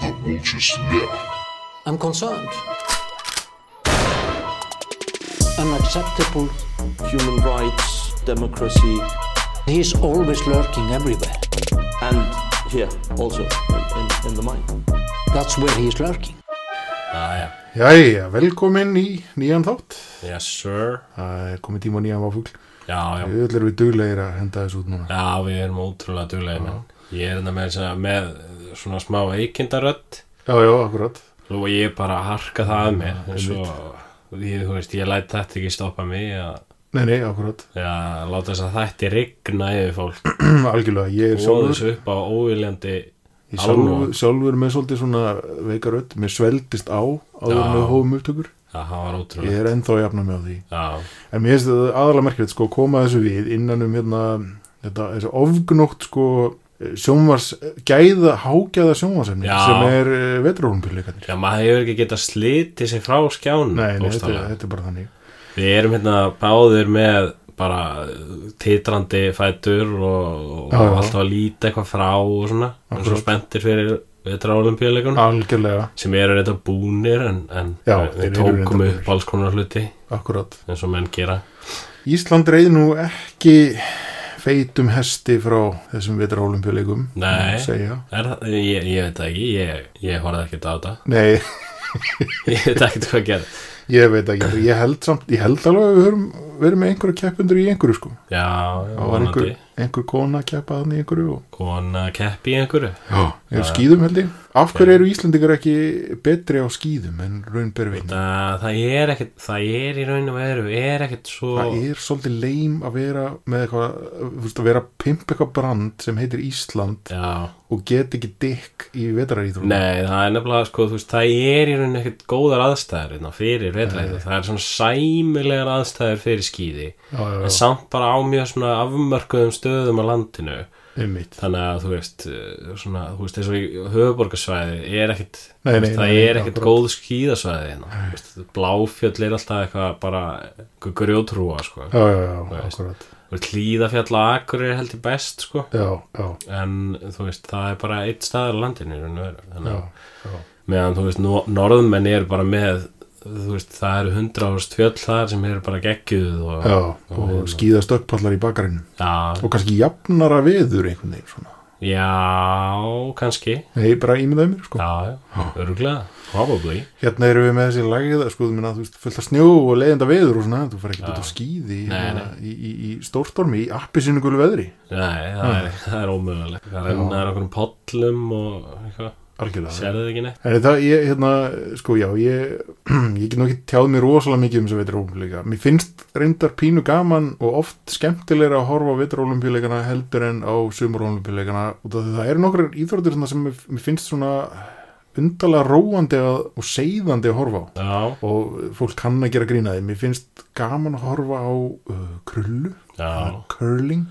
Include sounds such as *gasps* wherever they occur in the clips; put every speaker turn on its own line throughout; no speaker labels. The vultures left.
I'm concerned. Unacceptable.
human rights, democracy,
He's always lurking everywhere.
and here also in, in, in the mind.
That's where he's lurking.
Jæja,
Jæja, velkomin í nýjan þátt.
yes sir
Það er komið tíma á nýjan váfugl.
Já, já,
Við öll erum við duglegir að henda þessu út núna.
já, við erum ótrúlega duglega menn Ég er þetta með, að segja með eh, svona smá eikindarödd
Já, já, akkurat.
og ég er bara að harka það að mér en svo, ég, þú veist, ég læt þetta ekki stoppa mig að,
Nei, nei, akkurat. *clears throat*
að láta þess að þetta rigna yfir fólk
Algjörlega, ég er
og
sjálfur,
þessu upp á óviljandi
ég
alveg.
sjálfur, sjálfur með svolítið svona veikarödd. Mér svelgdist á áður en
Já.
við hófum upptökur.
Já, það var
Ég
ótrúlega
er ennþá að jafna mig á því.
Já,
En mér finnst þetta aðalega merkilegt sko að koma þessu við innan um hérna þetta þessu ofgnótt sko sjónvars, gæða, hágæða sjónvarsefni
Já.
sem er eh, vetrólumpileikarnir.
já maður hefur ekki getað slitið sig frá skjánum
Nei,
Mm,
nei, þetta,
bókstaflega.
þetta er bara þannig.
Við erum hérna báðir með bara titrandi fætur og, og
Já, já.
alltaf að líta eitthvað frá og svona og svo
Akkurat.
spenntir fyrir vetra olimpíuleikunum
Algjörlega,
sem eru reynda búnir en, en
Já,
við
þeir eru
tókum
reyndar
upp alls konar hluti
akkurat.
eins og menn gera
Ísland reið nú ekki feitum hesti frá þessum vetrólumpileikum.
Nei.
Segja.
er, það- ég, ég veit það ekki, ég, ég horfði ekkert á þetta *laughs*
Nei,
ég veit ekkert hvað gerð
ég veit ekki. Ég held samt, ég held alveg að við höfum verið með einhverju keppundur í einhverju sko.
já,
Það var
vonandi
einhver, einhver kona að keppa þannig í einhverju og
kona keppi í einhverju
Já, er skýðum held ég Af hverju eru Íslandingar ekki betri á skýðum en raun ber vitni?
það, það er ekkert, það er í raun og veru er ekkert svo
Það er svolítið leim að vera með eitthvað, þú veist að vera að pimpa eitthvað brand sem heitir Ísland
já,
og get ekki dikk í vetaræðrúna
Nei, það er nefnilega, sko, þú veist, það er í rauninni ekkert góðar aðstæður innan fyrir vetræðu, það er svona sæmilegar aðstæður fyrir skýði,
Já, já,
en
já,
samt bara á mjög svona afmörkuðum stöðum á landinu,
um mitt
þannig að, þú veist, eh, svona, þú veist, eins og höfuborgarsvæði er ekkert,
Nei,
þú
nei,
veist, það
nei,
er
nei,
ekkert
akkurat.
góð skýðasvæði hérna, þú veist, bláfjöll er alltaf eitthvað bara, eitthvað grjótrúa, sko,
Já, já, já,
Þú veist.
akkurat
og hlýðafjall á Akureyri er heldur best, sko,
Já, já,
en, þú veist, það er bara eitt staðar á landinu, í raun og veru, þannig
já,
að
já.
meðan þú veist, nor- norðmenn eru bara með þú veist, það eru hundra ást fjöll þar sem eru bara geggjuð og,
Já,
hérna.
og skýða stökkpallar í bakarinn
já,
og kannski jafnara veður einhvern veginn svona
já, kannski
Nei, bara ímyndaði mér, sko
já, já, öruglega, probably
Hérna erum við með þessi lagið, sko, þú minna, þú veist, fullt af snjó og leiðinda veður og svona, þú fær ekki út á skýði
Nei,
hérna, í, í, í stórstormi, í appi sinni gulu veðri.
nei, það er, það er ómögulegt það rennar okkur um pollum og eitthvað,
Algjörlega.
sérðu þið ekki neitt
En það, ég, hérna, sko, já, ég, *clears throat* ég get nú ekki tjáð mér rosalega mikið um þessi veturolumpíuleika. Mér finnst reyndar pínu gaman og oft skemmtilegra að horfa á veturolumpíuleikana heldur en á sumurolumpíuleikana. út af því Það eru nokkrar íþróttir svona sem mér- mér finnst svona undarlega róandi að, og seiðandi að horfa á.
já,
og fólk kann að gera grína því mér finnst gaman að horfa á uh, krullu, það er
já,
curling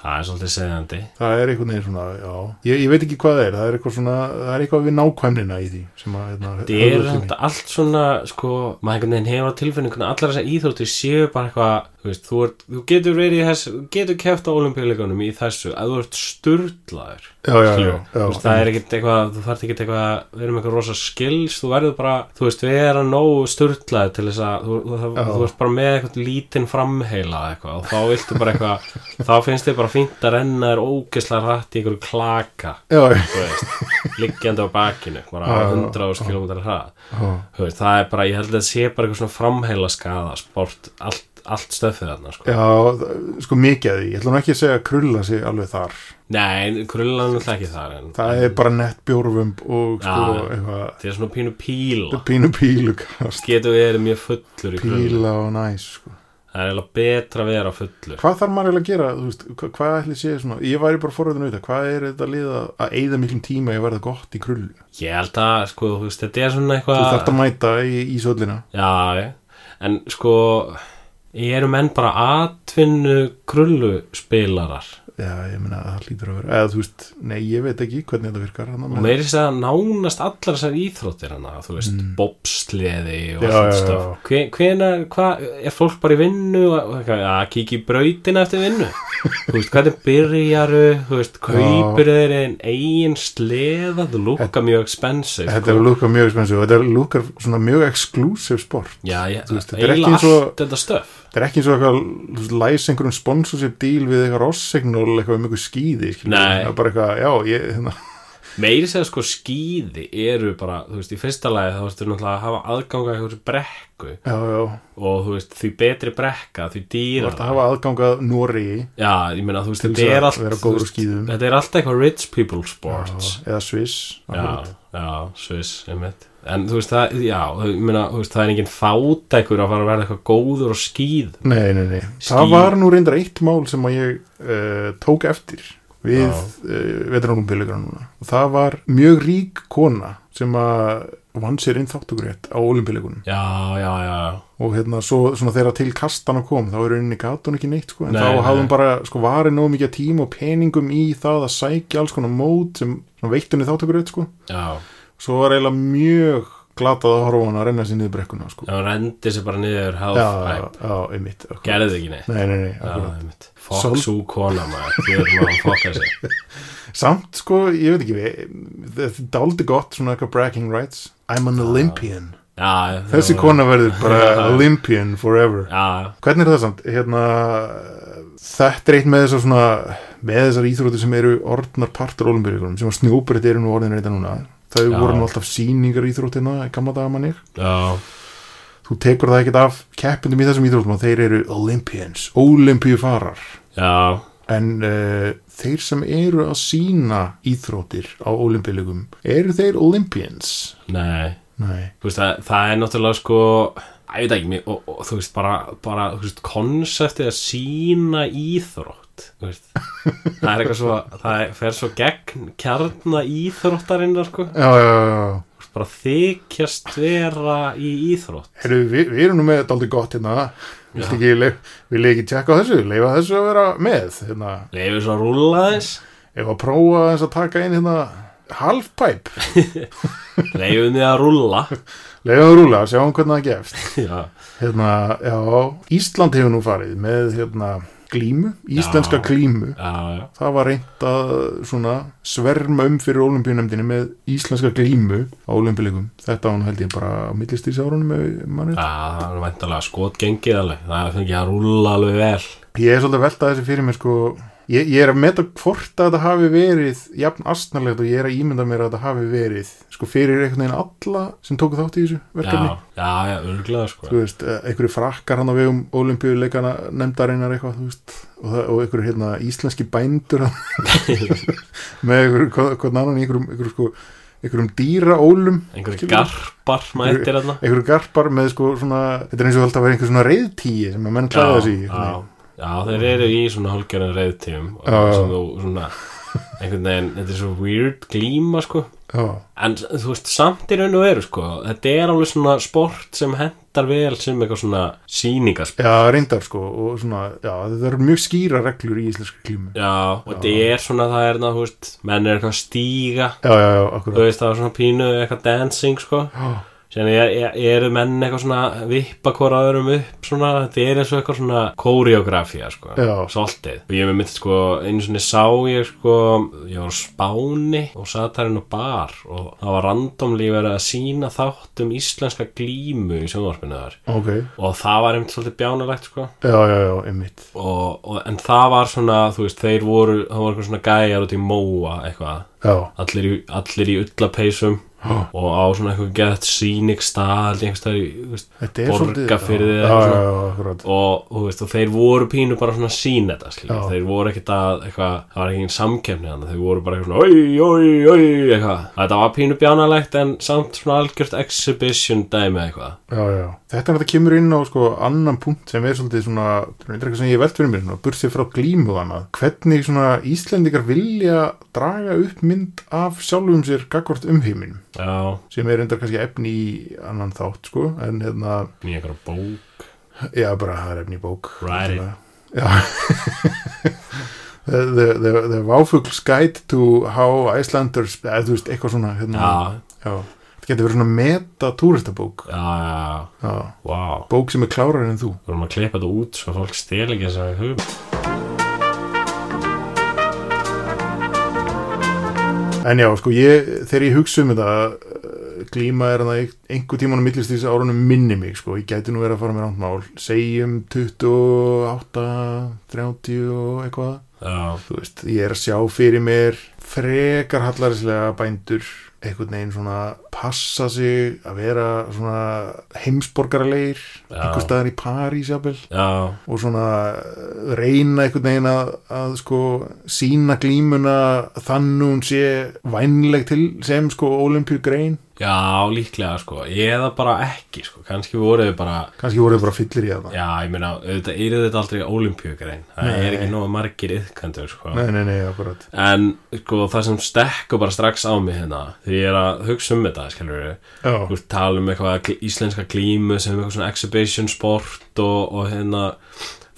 það er svolítið segðandi
það er einhvern veginn svona, já ég, ég veit ekki hvað það er, það er eitthvað svona það er eitthvað við nákvæmnina í því sem að, hérna,
það er
höfðar til mín.
þetta allt svona sko, maður einhvern veginn hefur á tilfinningunni allar þessar íþróttir séu bara eitthvað þú, veist, þú, ert, þú getur verið í þess þú getur keft á olimpíuleikunum í þessu að þú ert sturlaður
já, já, já,
skilur.
já,
Þú veist, það er ekkert eitthvað, þú þarft ekkert eitthvað við erum eitthvað rosa skills, þú verður bara þú veist, við erum nógu sturlaði til þess að þú, þú,
Já.
þú, þú ert bara með eitthvað lítinn framheila eitthvað og þá viltu bara eitthvað þá finnst þið bara fínt að renna þér ógeðslega hratt í einhverju klaka
já,
þú veist, liggjandi á bakinu bara
Já, já,
100 km hrað
já,
Þú veist, það er bara, ég held að það sé bara eitthvað svona framheila skada sport, allt, allt stöfið þarna sko.
já það- sko mikið af því, ég ætla nú ekki að segja að krulla sig alveg þar,
nei, krullan er náttúrulega ekki þar en
það er bara nett bjórvömb og sko,
Já.
eitthvað
þetta er svona pínu píla
pínu pílukast
getur verið mjög fullur í krullan
píla og næs, sko
það er eiginlega betra að vera fullur
Hvað þarf maður eiginlega að gera, þú veist, hva- hvað ætli sé svona, ég væri bara forröðin auðvitað, hvað er þetta lið að, að eigða miklum tíma í að verða gott í krullu?
ég held að, sko, þú veist, þetta er svona
Þú þarft að
eitthvað
mæta í, í söllina.
já, já. en sko ég eru menn bara atvinnu krulluspilarar
já, ég meina að það lítur að vera eða þú veist, nei, ég veit ekki hvernig þetta virkar hann,
og meiri segja nánast allar þessar íþróttir hana, þú veist, mm. bobsleði og
Já, já,
allt
já.
stöf hvenar, hvað, er fólk bara í vinnu og, og eitthvað, að kíkja í brautina eftir vinnu þú veist, hvernig byrjaru þú veist, kaupir þeir einn eigin sleða, þú lúka mjög expensive sko.
þetta er lúkar mjög spensu þetta er lúkar svona mjög exclusive sport
já, ég,
þú veist, þetta er ekki
eiginlega
eins
allt
og-
þetta stöf
þetta er ekki eins og eitthvað þú veist, læs einhverjum sponsorship deal við eitthvað rossignol eitthvað um eitthvað skýði skilur,
Nei.
það er bara eitthvað, já, ég, hérna,
meiri segja sko skýði eru bara, þú veist, í fyrsta lagi þá ertu náttúrulega að hafa aðganga einhversu brekku
já, já
og þú veist, því betri brekka, því
þú
dýra
ert að hafa aðgangað Noregi
Já, ég meina, þú veist,
Til
þetta
þess að
er allt
vera góður á
þú veist,
skíðum.
Þetta er allt eitthvað rich people sports
eða Sviss
Já, já, sviss, einmitt En þú veist, það, já, ég meina, þú veist, það er engin fátækur að fara að verða eitthvað góður og skíð
Nei, nei, nei. Það
Ský-
var nú reyndar eitt mál sem að ég uh, tók eftir við
Já.
uh, veteranumbiligra núna. Og það var mjög rík kona sem að vann sér inn þáttugrið á olimpileikunum
Já, já, já,
og hérna svo svona þegar til kastana kom þá er henni gat hún ekki neitt sko en
Nei,
þá
nei.
hafði hún bara sko varið nóg mikið tíma og peningum í það að sækja alls konar mót sem svona, veitt henni þáttugrið sko
já
svo var eiginlega mjög glatað að horfa á hann að renna sér niður brekkuna sko
Já, hann rendi sér bara niður
já,
health
já,
hype
já, einmitt akkurat.
Gerði ekki neitt
Nei, nei, nei,
Já,
akkurat
einmitt Fokk
Sol-
sú kona, maður Ég er maður að fokka sér
Samt sko, ég veit ekki við- þetta er aldrei gott svona eitthvað bragging rights I'm an Olympian
Já,
Þessi
já,
kona verður
*laughs*
bara Olympian forever
Já,
Hvernig er það samt? Hérna, þetta er eitt með þessar svona með þessar íþróti sem eru orðnar partur olimpíuleikunum sem að snjóbreytt eru nú orðin reynda núna þau
Já.
voru nú alltaf sýningar íþrótina í gamla dagamannir
já,
þú tekur það ekkert af keppindum í þessum íþrótum og þeir eru Olympians, olimpíufarar
já
En uh, þeir sem eru að sína íþrótir á olimpíuleikum, eru þeir olympians?
Nei
Nei.
þú veist, það, það er náttúrulega sko að ég veit ekki, mér- og, og þú veist bara, bara þú veist, konseptið að sína íþrótt þú veist. það er eitthvað svo það er- fer svo gegn kjarna íþróttarinnar sko,
Já, já, já, já.
Þú veist, bara þykjast vera í íþrótt
Heru, við, við erum nú með þetta aldrei gott hérna. Viltu ekki, leif, vil ég ekki tjekka á þessu? Leifa þessu að vera með. Hérna.
leifir svo að rúla þess
Ef að prófa eins að taka inn hérna halfpipe.
leifir þið að rúla
Leifa að rúla, sjáum hvernig það gefst.
*laughs* já,
Hérna, já, Ísland hefur nú farið með hérna glímu, íslenska
Já.
glímu.
já, já,
Það var reynt að svona sverma um fyrir olimpíunemdini með íslenska glímu á olimpíuleikum. Þetta var nú held ég bara á millistýrsárunum með mannið.
já það er væntalega skotgengið alveg það er fengið að rúla alveg vel
Ég er svolítið að velta þessi fyrir mér sko, ég, ég er að meta hvort að þetta hafi verið jafn astnarlegt og ég er að ímynda mér að þetta hafi verið sko fyrir einhvern veginn alla sem tóku þátt í þessu
já,
verkefni.
já, já, örglega sko
Þú veist, eh, einhverju frakkar hann á vegum olimpíuleikana nefndarinnar eitthvað, þú veist, og, það, og einhverju hérna íslenski bændur *laughs*
*laughs*
með einhverju, hvað- hvernig annan í einhverjum, einhverjum sko, einhverjum dýraólum
einhverju
skilur.
garpar mættir þarna
einhverju garpar með sko svona þetta er eins og held að vera einhver svona reyðtíi sem að menn klæða sig
já,
í, einhvern
já, þeir eru í svona hálfgerðan reyðtíum
Já, já.
sem þú svona einhvern veginn, þetta er svo weird glíma sko
veginn.
en þú veist, samt í raun og veru sko þetta er alveg svona sport sem hendar vel sem eitthvað svona sýningasport
já, já, reyndar sko og svona, já, þetta eru mjög skýra reglur í íslenska klímu já,
já, og þetta er svona það er það, þú veist, menn er eitthvað að stíga
já, já,
þú
akkurat
veist, það er svona pínu eitthvað dancing sko
Já.
Sérna er, er, eru menn eitthvað svona vippa hvora öðrum upp svona, þetta er eins og eitthvað svona koreografía sko,
Já.
soltið. Og ég með mitt sko, einu svona sá ég sko, ég var á spáni og satt þar inn á bar og það var randomlí verið að sína þátt um íslenska glímu í sjónvarpinu þar.
ok,
Og það var einmitt svolítið bjánulegt sko
já, já, já, einmitt
og, og, en það var svona, þú veist, þeir voru, það var eitthvað svona gæjar út í móa eitthvað
já,
allir í, allir í ullapeysum
Já.
og á svona eitthvað gett sínik stað
þetta er svolítið
borga fyrir
já,
þið
já, já, já, akkurat
og, og, veist, og þeir voru pínu bara svona að sína þetta skilur.
Já.
þeir voru ekkert að eitthvað, það var ekki einn samkefni þannig þeir voru bara eitthvað svona oi, oi, oi, eitthvað. þetta var pínu bjánalegt en samt svona algjört exhibition dæmi eitthvað
Já, já. Þetta er þetta kemur inn á sko annan punkt sem er svolítið svona, þetta er reyndar eitthvað sem ég velt fyrir mér, svona, burtið frá glímu og annað. Hvernig svona Íslendingar vilja draga upp mynd af sjálfum sér gagvart umheiminum?
já,
sem er reyndar kannski efni í annan þátt sko, en hérna,
nýja einhverja bók
já bara það er efni í bók
Right it.
Já *laughs* The, the, the, the Váfugls Guide to How Icelanders eða þú veist, eitthvað svona hérna,
Já,
já. það getur verið svona meta túristabók
já, já,
já.
vá
bók sem er klárar en þú
Við erum að klippa þetta út svo fólk stel ekki þess að hugum
en já, sko, ég, þegar ég hugsa um þetta eh, glíma er þannig einhver tíman á millist þessi árunum minni mig sko, ég gæti nú verið að fara með rámt mál segjum 28 30 og eitthvað
Já,
þú veist, ég er að sjá fyrir mér frekar hallarislega bændur einhvern veginn svona passa sig að vera svona heimsborgaralegir
Já.
einhver staðar í París jafnvel
já,
og svona eh, reyna einhvern veginn að, að sko sína glímuna þannig hún sé vænleg til sem sko olimpíugrein
já, líklega sko Eða bara ekki sko, kannski voru þau bara
kannski voru þau bara fyllir í það
Já, ég meina, auðvitað er þetta aldrei ólimpíugrein Það
Nei.
er ekki nóg margir yðkandur sko.
nei, nei, nei, akkurat
En sko, það sem stekkur bara strax á mig hérna Því ég er að hugsa um þetta, skilur Þú
já,
veist, tala um eitthvað gl- íslenska glímu sem eitthvað svona exhibition sport og, og hérna,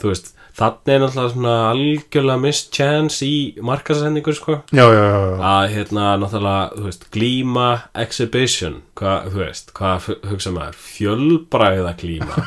þú veist Þannig er náttúrulega svona algjörlega mist chance í markasendingur sko
já, já, já, já.
að hérna náttúrulega þú veist, glíma exhibition hvað, þú veist, hvað fu- hugsa maður fjölbræða glíma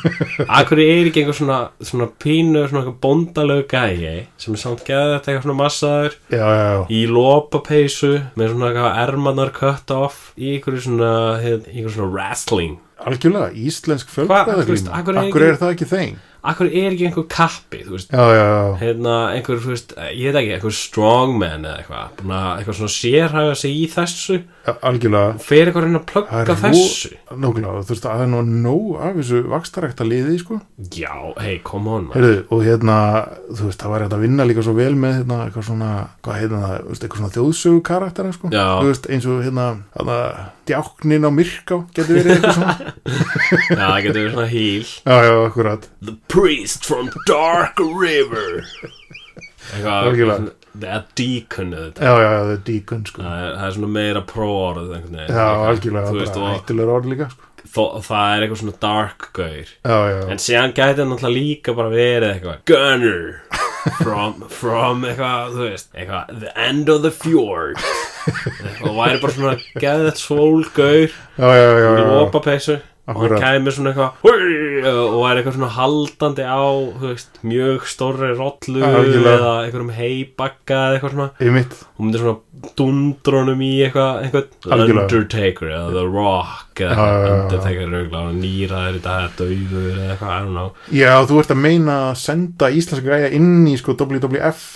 akkur er ekki einhver svona, svona pínu svona einhver bóndalög gæi sem er samt geða þetta eitthvað svona massaður
já, já, já.
í lopapeysu með svona eitthvað ermanar cut off í einhverju svona, hér, einhverju svona wrestling
algjörlega, íslensk
Hvað, þú veist,
fjölbræðaglíma
akkur er
akkur
ekki-
er það ekki þeim
akkur er ekki einhver kappi þú veist,
já, já, já
hérna, einhver, þú veist, ég veit ekki einhver strongman eða eitthvað búinn að- eitthvað svona sérhæfa sig í þessu
Ja, algjörlega
fer eitthvað að reyna að plugga þessu
Nókulega, þú veist að það er nú nóg af þessu vakstarækta liði sko
Já, hei, come on man.
Heyrðu, og hérna, þú veist, það var hægt að vinna líka svo vel með hérna, eitthvað svona, hvað heitna það, þú veist, eitthvað svona þjóðsögu karaktera, sko
Já.
Þú veist, eins og hérna, hérna, djáknin á myrká, getur verið eitthvað svona
Já, það getur verið svona hýl
Já, já, akkurat
The priest from Dark River
Algjörlega.
Eitthvað The deacon auðvitað.
Já, já, já, það er díkun, sko Já,
Það er, það er svona meira próorð einhvern veginn.
algjörlega,
Þú
það
veist,
er
og,
hættulegur orð líka, sko
þó, Það er eitthvað svona dark gaur
Já, já, já,
En síðan gæti hann alltaf líka bara verið eitthvað Gunner From, from eitthvað, þú veist eitthvað, The end of the fjord Og væri bara svona Gæðið svólgaur
já, já, já, já, já.
lopapeysu og hann
Akkurat.
kæmi svona eitthvað og er eitthvað svona haldandi á þú veist, mjög stórri rollu
Algjörlega.
eða einhverjum heibakka eða eitthvað svona
Einmitt,
og myndi svona dundrónum í eitthvað einhvern
Algjörlega.
Undertaker eða The Rock eða
Já, já, já, já.
eitthvað Undertaker er örugglega nýraður í dag eða dauður eða eitthvað, I don't know
já, þú ert að meina að senda íslenska gæja inn í, sko, WWF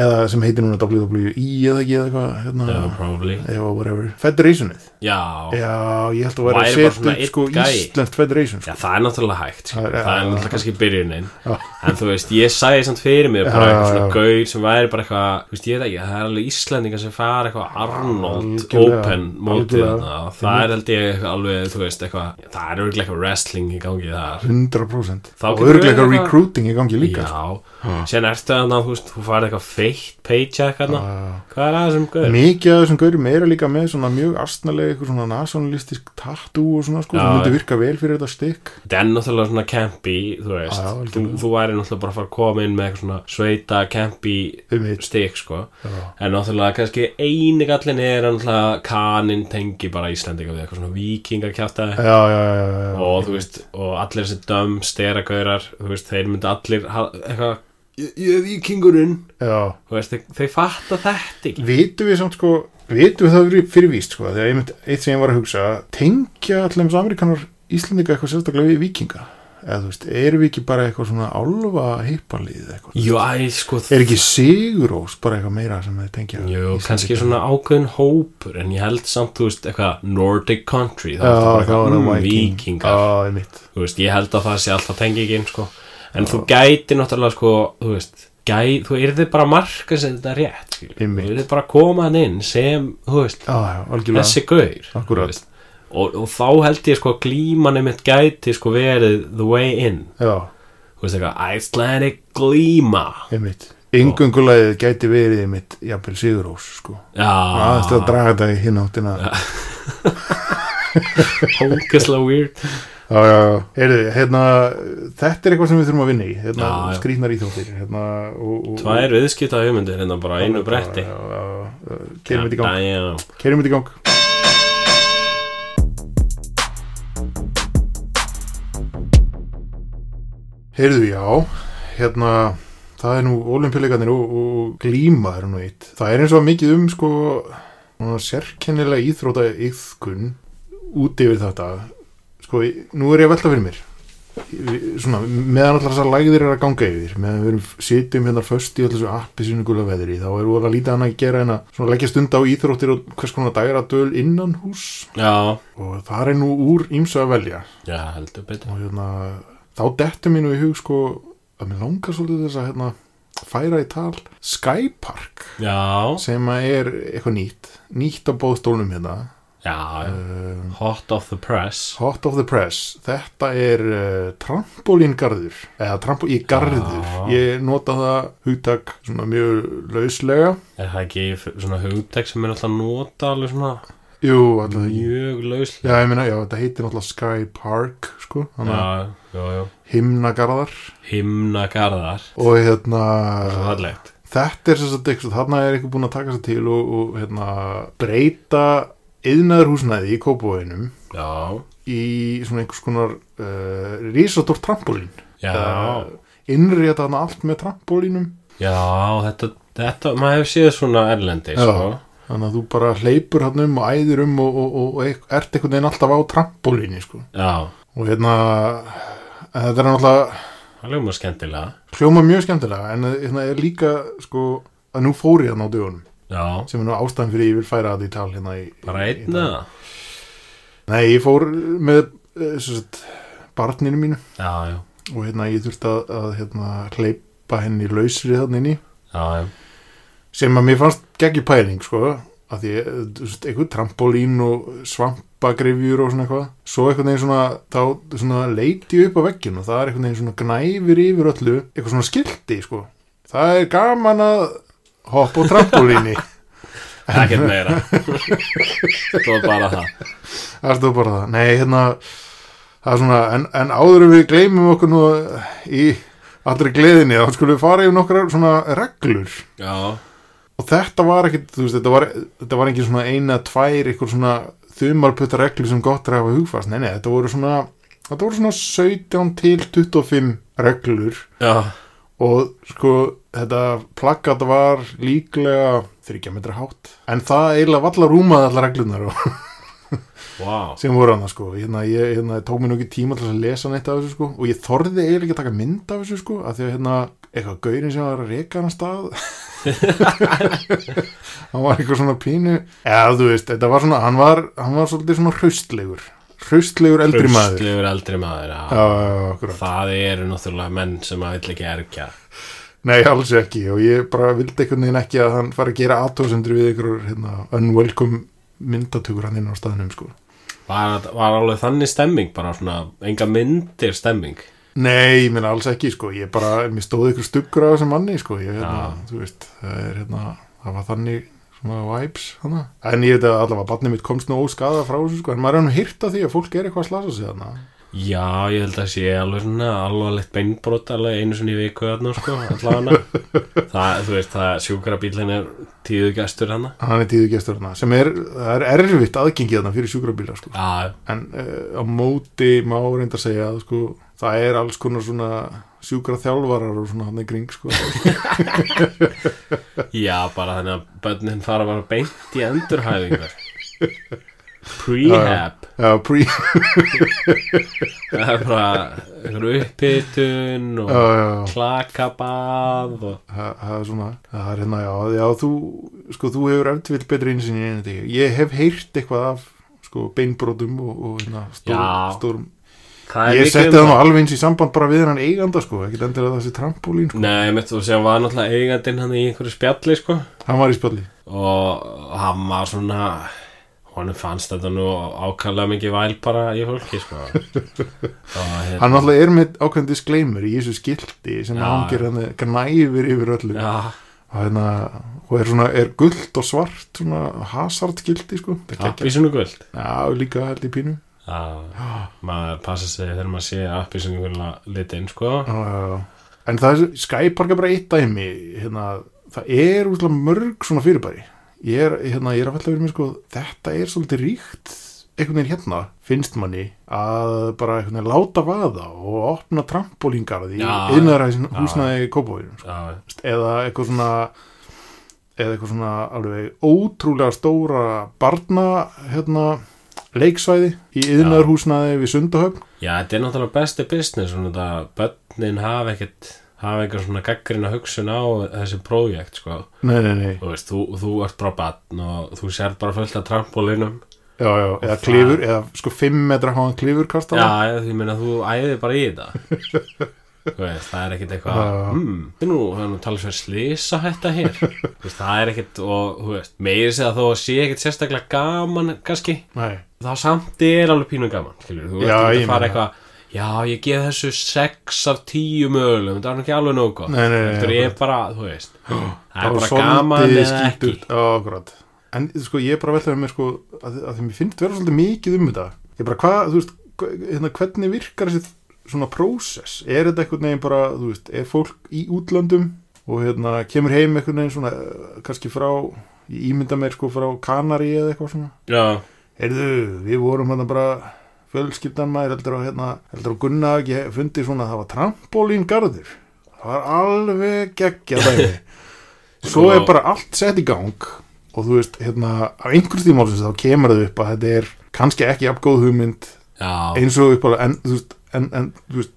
eða sem heitir núna WWE eða ekki eða eitthvað, hérna
yeah, probably
eða whatever, federationið
já.
já, ég held að vera
Væri bara
að setja
svona
upp
einn
sko
gæi.
Ísland federation sko.
já, það er náttúrulega hægt
Það
það er,
er- já,
það er
já,
náttúrulega kannski byrjunin
Já.
en þú veist, ég sagði samt fyrir mig
Já,
bara
já,
eitthvað svona
já.
gaur sem væri bara eitthvað þú veist, ég veit ekki, það er alveg Íslendingar sem fara eitthvað Arnold
Algjörlega,
Open mótið
algjörlega.
þarna og það er held ég alveg, þú veist, eitthvað það er örglega eitthvað wrestling í gangi þar
100%
Þá
og
getur
örgleika
verið eitthvað-
recruiting í gangi líka sko.
já, sen ertu þarna, þú veist, þú farið eitthvað feitt paycheck þarna,
Já.
hvað er það sem gaur?
mikið af þessum gaurum eru líka með svona mjög astnalega eitthvað svona nationalistisk tattoo og svona sko,
Já,
sem myndi
já.
virka vel fyrir þetta stykk
þetta er náttúrulega svona campy, þú veist
Já, já,
þú,
algjörlega.
þú væri náttúrulega bara að fara að koma inn með eitthvað svona sveita campy
um eitt
stík, sko
já,
En náttúrulega kannski eini gallin er að náttúrulega kaninn tengi bara Íslandinga við eitthvað svona vikingakjátaði
já, já, já, já.
og þú veist, og allir þessi döm steragaurar, þú veist, þeir myndi allir ha- eitthvað, ég ég er vikingurinn
já.
þú veist, þeir, þeir fatta þetta ekki
vitum við samt sko vitum við það fyrir- fyrir víst sko þegar einmitt eitt sem ég var að hugsa tengja allir eins amerikanar Íslendinga eitthvað sérstaklega við vikinga eða þú veist, erum við ekki bara eitthvað svona álfa heiparlið eitthvað
Jú, æ, sko, þ-
er ekki Sigurós bara eitthvað meira sem þið tengja
Jú,
Íslendinga?
kannski svona ákveðin hópur en ég held samt, þú veist, eitthvað Nordic country,
Já,
ertu bara
þá er það
mm,
Viking.
víkingar
Já, einmitt.
þú veist, ég held að það sé alltaf tengingin sko. en þú gæti náttúrulega sko, þú veist, gæ, þú yrði bara að marka sem þetta rétt skilur.
Einmitt.
þú yrði bara að koma hann inn sem, þú veist,
Já, já, algjörlega
þessi gaur
Akkúrat.
þú veist. og, og þá held ég sko glímanum mitt gæti sko verið the way in
Já,
þú veist eitthvað, Icelandic glíma
einmitt Yngöngulegið gæti verið einmitt jafnvel Sigurós sko aðeins til að
Ah. já,
draga þetta í hinn áttina
hókislega weird
já, já, já. Heyrðu, hérna, þetta er eitthvað sem við þurfum að vinna í hérna,
Já, já.
skrýtnar íþróttir hérna, og, og,
Tvær viðskipta hugmyndir hérna bara á einu bretti
Já, já, já. Keirum þetta í gang
Já,
Keirum þetta í gang Heyrðu, já Hérna Það er nú olimpíuleikarnir og, og glíma er nú eitt. Það er eins og mikið um sko svona sérkennilega íþróta yðkun út yfir þetta sko, nú er ég að velta fyrir mér svona, meðan allar þessar lægðir er að ganga yfir, meðan við erum sitjum hérna föst í allir þessu appi sinugula veðri þá er voru að lítið hann að gera en að svona leggja stund á íþróttir og hvers konar dæradöl innan hús
já,
og það er nú úr ímsu að velja
já heldur betur
og hérna, þá dettur mínu í hug sko, að mér langar svolítið þess að hérna, færa í tal Skypark
Já,
sem að er eitthvað nýtt nýtt á bóðstólnum hérna
já,
um,
hot off the press
Hot of the Press, þetta er uh, trampolíngarður eða trampol í garður
Já.
ég nota það hugtak svona mjög lauslega
Er það ekki f- svona hugtek sem er alltaf nota alveg svona
Jú,
Mm.
alltaf ekki
mjög lauslega
Já, ég meina, já, þetta heitir náttúrulega Sky Park sko, hann að
Já, já, já
himnagarðar
Himnagarðar
og hérna
Svo fallegt
þetta er sem sagt eitthvað, þarna er eitthvað búin að taka sér til og, og hérna breyta yðnaðurhúsnæði í kópavöginum
Já,
í svona einhvers konar uh, risatór trampolín
já
innrétta hann allt með trampolínum
Já, þetta, þetta, maður hefur séð svona erlendi,
Já.
sko
Þannig að þú bara hleypur hann um og æðir um og, og, og, og ert einhvern veginn alltaf á trampolíni sko.
Já,
Og hérna, en þetta er náttúrulega
það ljóma skemmtilega
hljóma mjög skemmtilega en hérna er líka sko að nú fór ég hann á dögunum
Já,
sem er nú ástæðan fyrir ég vil færa þetta í tal hérna í,
bara
í- í
einna
dag. Nei, ég fór með eh, sem sagt, barninu mínu
Já, já,
og hérna ég þurfti að, að hérna, hleypa henni lausri þannig inni
já, já
sem að mér fannst geggjur pæling sko að því eh, þú veist, einhver trampolín og svampagrifjur og svona eitthvað svo einhvern veginn svona, þá svona leiti ég upp á veggin og það er einhvern veginn svona gnæfir yfir öllu, eitthvað svona skildi sko, það er gaman að hoppa á trampolíni
Ekkert meira Svo bara það
það stóð bara það, nei hérna það er svona, en, en áður en við gleymum okkur nú í allri gleðinni, þá skulum við fara yfir nokkrar svona reglur
Já,
og þetta var ekkit, þú veist, þetta var, þetta var ekki svona eina, tvær, ykkur svona þumalputta reglu sem gott er að hafa hugfast nei, nei, þetta voru svona, þetta voru svona 17 til 25 reglur
já,
og sko, þetta plaggat var líklega 30 metra hátt, en það eiginlega valla rúmaði allar reglunar og
vá
sem voru hann sko, hérna, ég hérna, tók mér nú ekki tíma til að lesa neitt af þessu sko og ég þorði eiginlega ekki að taka mynd af þessu sko af því að hérna, eitthvað gaurin sem var að reka hann að stað hann var eitthvað svona pínu eða þú veist, þetta var svona hann var, hann var svolítið svona hraustlegur hraustlegur eldri maður já,
Hraustlegur eldri maður, já,
já, já, akkurat.
Það eru náttúrulega menn sem að vill ekki erkja
nei, alls ekki og ég bara vildi einhvern veginn ekki að hann fara að gera aðtóðsendur við einhverjur hérna, unwelcome myndatökur hann inn á staðnum sko
var, var alveg þannig stemming bara svona, enga myndir stemming
Nei, ég minna alls ekki, sko, ég bara, mér stóði ykkur stuggur af þessum manni, sko, ég, hérna,
Já.
þú veist, það er, hérna, það var þannig svona vibes, hana. En ég veit að allavega, barnið mitt komst nú óskada frá þessu, sko, en maður er hann hýrt af því að fólk er eitthvað að slasa sig þarna.
já, ég held að sé alveg svona alvarlegt beinbrot alveg einu svona í viku þarna sko, allavega það, þú veist, það sjúkra bílinn er tíðu gestur hana
Hann er tíðu gestur þarna, sem er, það er erfitt aðgengið þarna fyrir sjúkrabíla, sko.
já,
En uh, á móti má reynda að segja að, sko, það er alls konar svona sjúkraþjálfarar og svona hann í kring, sko.
já, bara þannig að börnin fara bara beint í endurhæfingar prehab
Já, pre, *laughs*
það er bara einhver upphitun
já,
og
já, já.
klakabað og
það það er svona, það er hérna, já, já, þú, sko, þú hefur eftirvill betri einsinni en þetta, ég. ég hef heyrt eitthvað af, sko, beinbrotum og, og hérna, stór,
Já.
stórum,
það er
ég
mikið
setti
um
það nú alveg eins í samband bara við hann eiganda, sko, ekkert endilega þessi trampolín, sko,
Nei, mitt þú sem var náttúrulega eigandinn hann í einhverju spjalli, sko
hann var í spjalli,
og hann var svona honum fannst þetta nú ákallega mikið væl bara í fólki, sko og hérna
hann alltaf er með ákveðin disclaimer í þessu skilti sem
Já,
já, hann gerir hann gnæfir yfir öllu,
Já,
og hérna, og er svona, er gullt og svart, svona hasard skilti, sko, það er
appísinu guld
ekki, já, líka held í pínu,
að maður passa sig þegar maður sé appi sem einhverjulega litin sko
Já, já, já. En það er, Skype park er bara eitt dæmi hérna, það er útla mörg svona fyrirbæri ég er, hérna, ég er að falla fyrir mér sko þetta er svolítið ríkt einhvern veginn hérna, finnst manni að bara einhvern veginn láta vaða og opna trampolíngarði í
Já,
innræðin
já.
húsnaði kópavírun sko.
já,
eða eitthvað svona eða eitthvað svona alveg ótrúlega stóra barna hérna, leiksvæði í yðnaðarhúsnaði við Sundahöfn
já, þetta er náttúrulega besti business svona þetta, börnin hafa ekkert hafa einhver svona gaggrina hugsun á þessi prójekt sko
Nei, nei, nei
þú veist, þú, þú ert bara batn og þú sér bara fullt af trampolinum
Já, já, eða
það-
klifur, eða sko 5 metra háan klifurkastala
Já, ég- ég meina þú æðir bara í þetta Þú veist, það er ekkit eitthvað
Já.
hmm, þetta er nú, það er nú talað sér slisa þetta hér Þú veist, það er ekkit og, þú veist, meiri segja þó að sé ekkit sérstaklega gaman, kannski
Nei,
þá samt er alveg pínu gaman, skilur þú
Já,
veist,
ég
þú fara
meina
eitthvað Já, ég gef þessu 6 af 10 mögulegum, það er nú ekki alveg nóg gott
Nei, nei, nei,
Þetta er
akkurat.
bara, þú
*gasps*
veist Það
var
er bara
svolítið
gaman eða ekki
skítult. Já, akkurat En sko, ég er bara veltaði með mér sko að, að því mér finnst vera svolítið mikið um þetta Ég bara, hvað, þú veist, hva- hérna, hvernig virkar þessi svona prósess? Er þetta einhvern veginn bara, þú veist, er fólk í útlöndum og hérna, kemur heim einhvern veginn svona, eh, kannski frá ég ímynda mér sko frá Kanari eða eitthvað svona
Já,
Heyrðu, við vorum hérna bara fjölskyldan maður heldur að, hérna, heldur að Gunna hafi ekki fundi svona að það var trampolíngarður. Það var alveg geggja dæmi.
*laughs*
Svo
Sko-
er bara allt sett í gang og þú veist, hérna, á einhvers tímálsins þá kemur það upp að þetta er kannski ekki jafngóð hugmynd
já,
eins og upp alveg, en, þú veist, en, en, þú veist,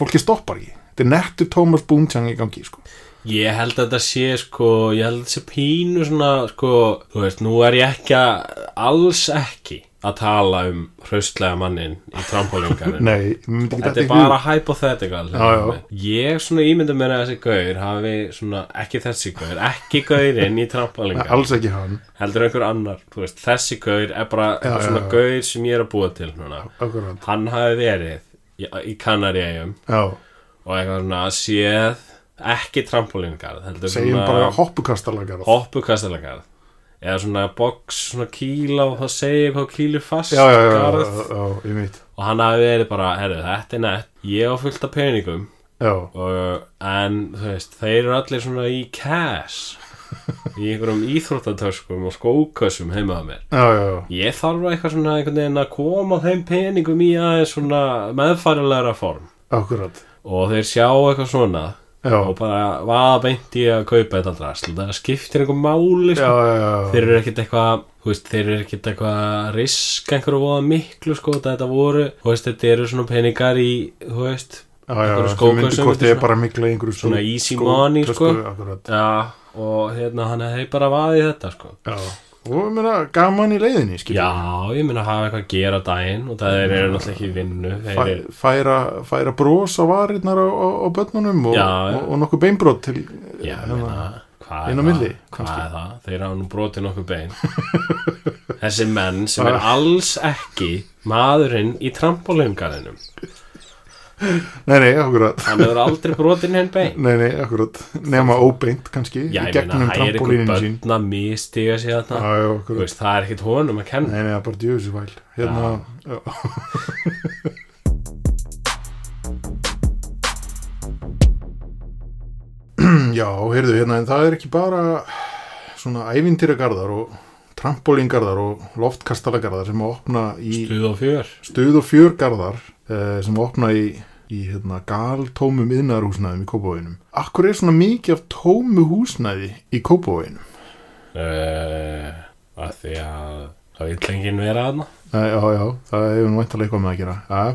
fólki stoppar ekki. Þetta er nettur Thomas Boomchang í gangi, sko.
Ég held að þetta sé sko, ég held að þetta sé pínu svona sko, þú veist, nú er ég ekki að, alls ekki að tala um hraustlega mannin í trampólingarinn.
Nei, mér myndi ekki
Þetta
þetta
er bara hypothetical. hérna.
Já, já.
Ég svona ímynda mér að þessi gaur hafi svona, ekki þessi gaur, ekki gaurinn í trampólingarinn,
Alls ekki hann,
heldur einhver annar, þú veist, þessi gaur er bara
Já,
eitthvað
já,
svona
já.
gaur sem ég er að búa til núna.
akkurat.
Hann hafi verið í, í Kanaríum
Já,
og eitthvað svona séð ekki trampólingarð, heldur
segjum bara hoppukastalagar.
hoppukastalagarð eða svona box, svona kíla og það segir hvað kílu fast
já, já, já, já,
garð.
já, já, ég mitt
og hann hafi verið bara, herru, þetta er nett ég á fullt af peningum
já,
og, en þú veist, þeir eru allir svona í cash í einhverjum íþróttatöskum og skókössum heima á mér
já, já,
ég þarf eitthvað svona einhvern veginn að koma þeim peningum í aðeins svona meðfærilegra form
akkurat
og þeir sjá eitthvað svona
já,
og bara, hvað beint ég að kaupa þetta drasl það skiptir einhver máli sko.
já, já,
þeir eru ekkert eitthvað þú veist, þeir eru ekkert eitthvað að riska einhverju voða miklu sko þetta voru, þú veist, þetta eru svona peningar í þú veist,
já, já,
einhverju
já,
skóka
sem myndi
sem
hvort
þetta
ég er
svona-
bara mikla í einhverju
svona
skó-
easy
skó-
money, sko.
tösku, akkurat,
já, og hérna hann hefði bara vaðið þetta sko
já og ég meina, gaman í leiðinni, skil
já, ég meina hafa eitthvað að gera á daginn og það eru náttúrulega ekki í vinnu þeir eru,
færa, færa brós á varirnar á, á, á börnunum og,
Já, já.
og, og nokkuð beinbrot til
já, ég
hérna,
meina hvað er
inn á
það,
milli,
hvað
kannski.
er það þeir hafa nú brotið nokkuð
*laughs*
bein þessi menn sem er alls ekki maðurinn í trampolungarinum
nei, nei, akkurat
hann hefur aldrei brotið henn bein
nei, nei, akkurat, nema óbeint kannski,
Já,
í
ég meina,
gegnum
það er einhver
trampolínin sín
börn að mistiga sig
já,
þarna
já,
Þú
akkurat
veist, það er ekkert honum að kenna
Nei, nei, það er bara djöfusi væl Hérna, já. *laughs* Já, heyrðu, hérna, en það er ekki bara svona ævintýragarðar og trampolíngarðar og loftkastalagarðar sem að opna í
Stuð og fjör
stuð og fjörgarðar eh, sem að opna í, í hérna, galtómum yðnaðarhúsnæðum í Kópavóinum. Akkur er svona mikið af tómu húsnæði í Kópavóinum?
uh, að Því að það vill enginn vera þarna
Nei, já, já, það hefur nú væntalega eitthvað með að gera ja.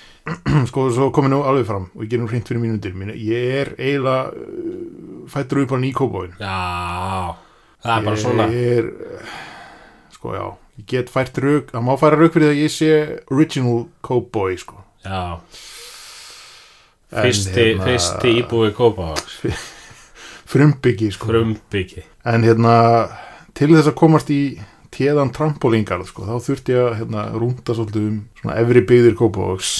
*clears throat* Sko, svo komið nú alveg fram og ég gerum hreint fyrir mínundir mín. Ég er eiginlega uh, fættur upp á nýkópáin
Já, það er bara svona
Ég er, uh, sko, já Ég get fært rauk, það má færa rauk fyrir það að ég sé original cowboy, sko
Já
En
Fyrsti,
hérna-
fyrsti íbúi kópa
Frumbyggi, sko
Frumbyggi
En hérna, til þess að komast í téðan trampolíngarð, sko, þá þurfti ég að hérna, rúnda svolítið um svona efri byggðir kópáins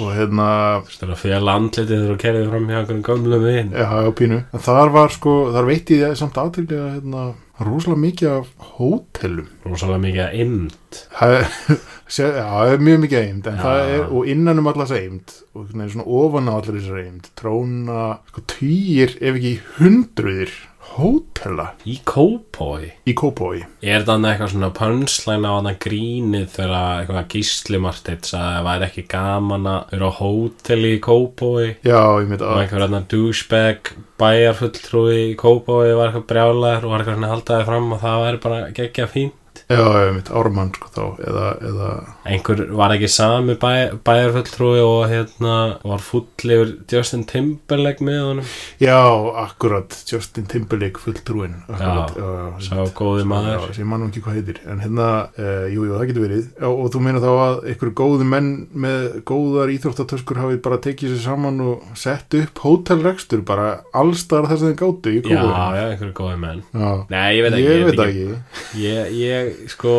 og hérna
Það er að fela andlitið þegar þú kerðið fram hjá einhvern gömlum vin
já, já, pínu en þar var sko, þar veitti ég samt aðtrykli að hérna, rosalega mikið af hótelum
Rósalega mikið að ynd
það er- *laughs* sé- já, það er mjög mikið eimt en
Já.
það er, og innan um allas eimt og einhvern veginn svona ofan á allar þessar eimt tróna, sko týjir ef ekki hundruðir hótela
Í kópói
í Kópói
Er þannig eitthvað svona pönslæn á þannig grínið þegar eitthvað gísli martið að það væri ekki gaman að vera á hóteli í Kópói
já, ég myndi
og
að
einhver annan douchebag bæjarfulltrúi í Kópói var eitthvað brjálæður og var eitthvað svona að halda þið fram og það væri bara geggja fín
já, ég myndi ármann sko þá eða, eða
einhver var ekki sami bæ, bæjarfulltrúi og hérna var full yfir Justin Timberlake með honum
Já, akkurat, Justin Timberlake fulltrúin akkurat,
Já,
já,
sá góði maður
Já, sem mann ekki hvað heitir En hérna, uh, jú, jú, það getur verið já, Og þú meina þá að einhverju góði menn með góðar íþróttatöskur hafi bara tekið sér saman og sett upp hótelrekstur bara allstar þess að þeim gátu í
Já,
Kópavogi.
já, einhverju góði menn
já.
Nei, ég veit ekki
Ég veit það ekki
Ég, ég, sko,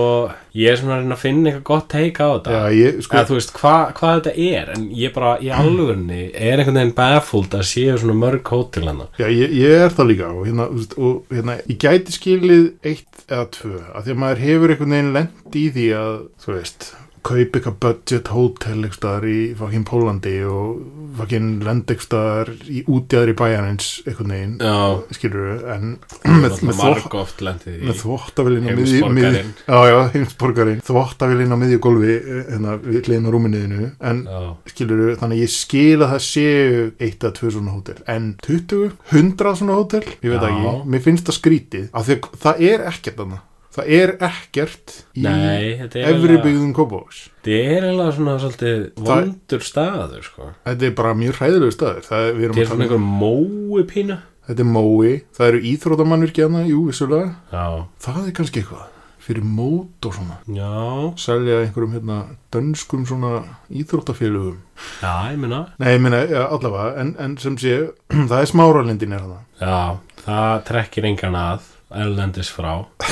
ég er svona að reyna að finna eitthvað gott teika á þetta
Já, ég, sko,
eða þú veist hva, hvað þetta er en ég bara í alvörni er einhvern veginn baffled að séu svona mörg hótel hérna. hann
Já, ég, ég er það líka og, hérna, þú veist, og hérna, ég gæti skilið eitt eða tvö að því að maður hefur einhvern veginn lent í því að, þú veist, kaup eitthvað budget hotel eitthvað í fucking Pólandi og fucking lend eitthvað í útjæðri bæjarins einhvern veginn,
Já,
skilur við, en með,
með
með, þvott-
marg oft lendið í
með þvottavélina á miðju- miðju-
heimsborgarinn
Já, já, heimsborgarinn Þvottavélina á miðju gólfi eh, hérna, við liðin á rúminniðinu en
Já,
skilur þannig að ég skil að það séu eitt að tvö svona hótel, en 20, 100 svona hótel, ég veit
Já.
ekki mér finnst það skrítið, af því að það er ekkert annað, það er ekkert í
nei, þetta er
efri
eiginlega-
byggðum Kópavóks
Þetta er eiginlega svona svolítið
Það-
vondur staður, sko
þetta er bara mjög hræðilegu staður það, er- við erum
Þetta
að
er
tala
svona
um-
einhver mói pína
þetta er mói, það eru íþrótamannvirki annað, jú, vissulega,
Já,
það er kannski eitthvað fyrir mót og svona
já,
selja einhverjum hérna dönskum svona íþróttafélögum
já, ég minna
nei, ég meina, ja, allavega, en, en sem sé *clears throat* það er smáralindin er hana
Já, það trekkir engan að erlendis frá
*laughs*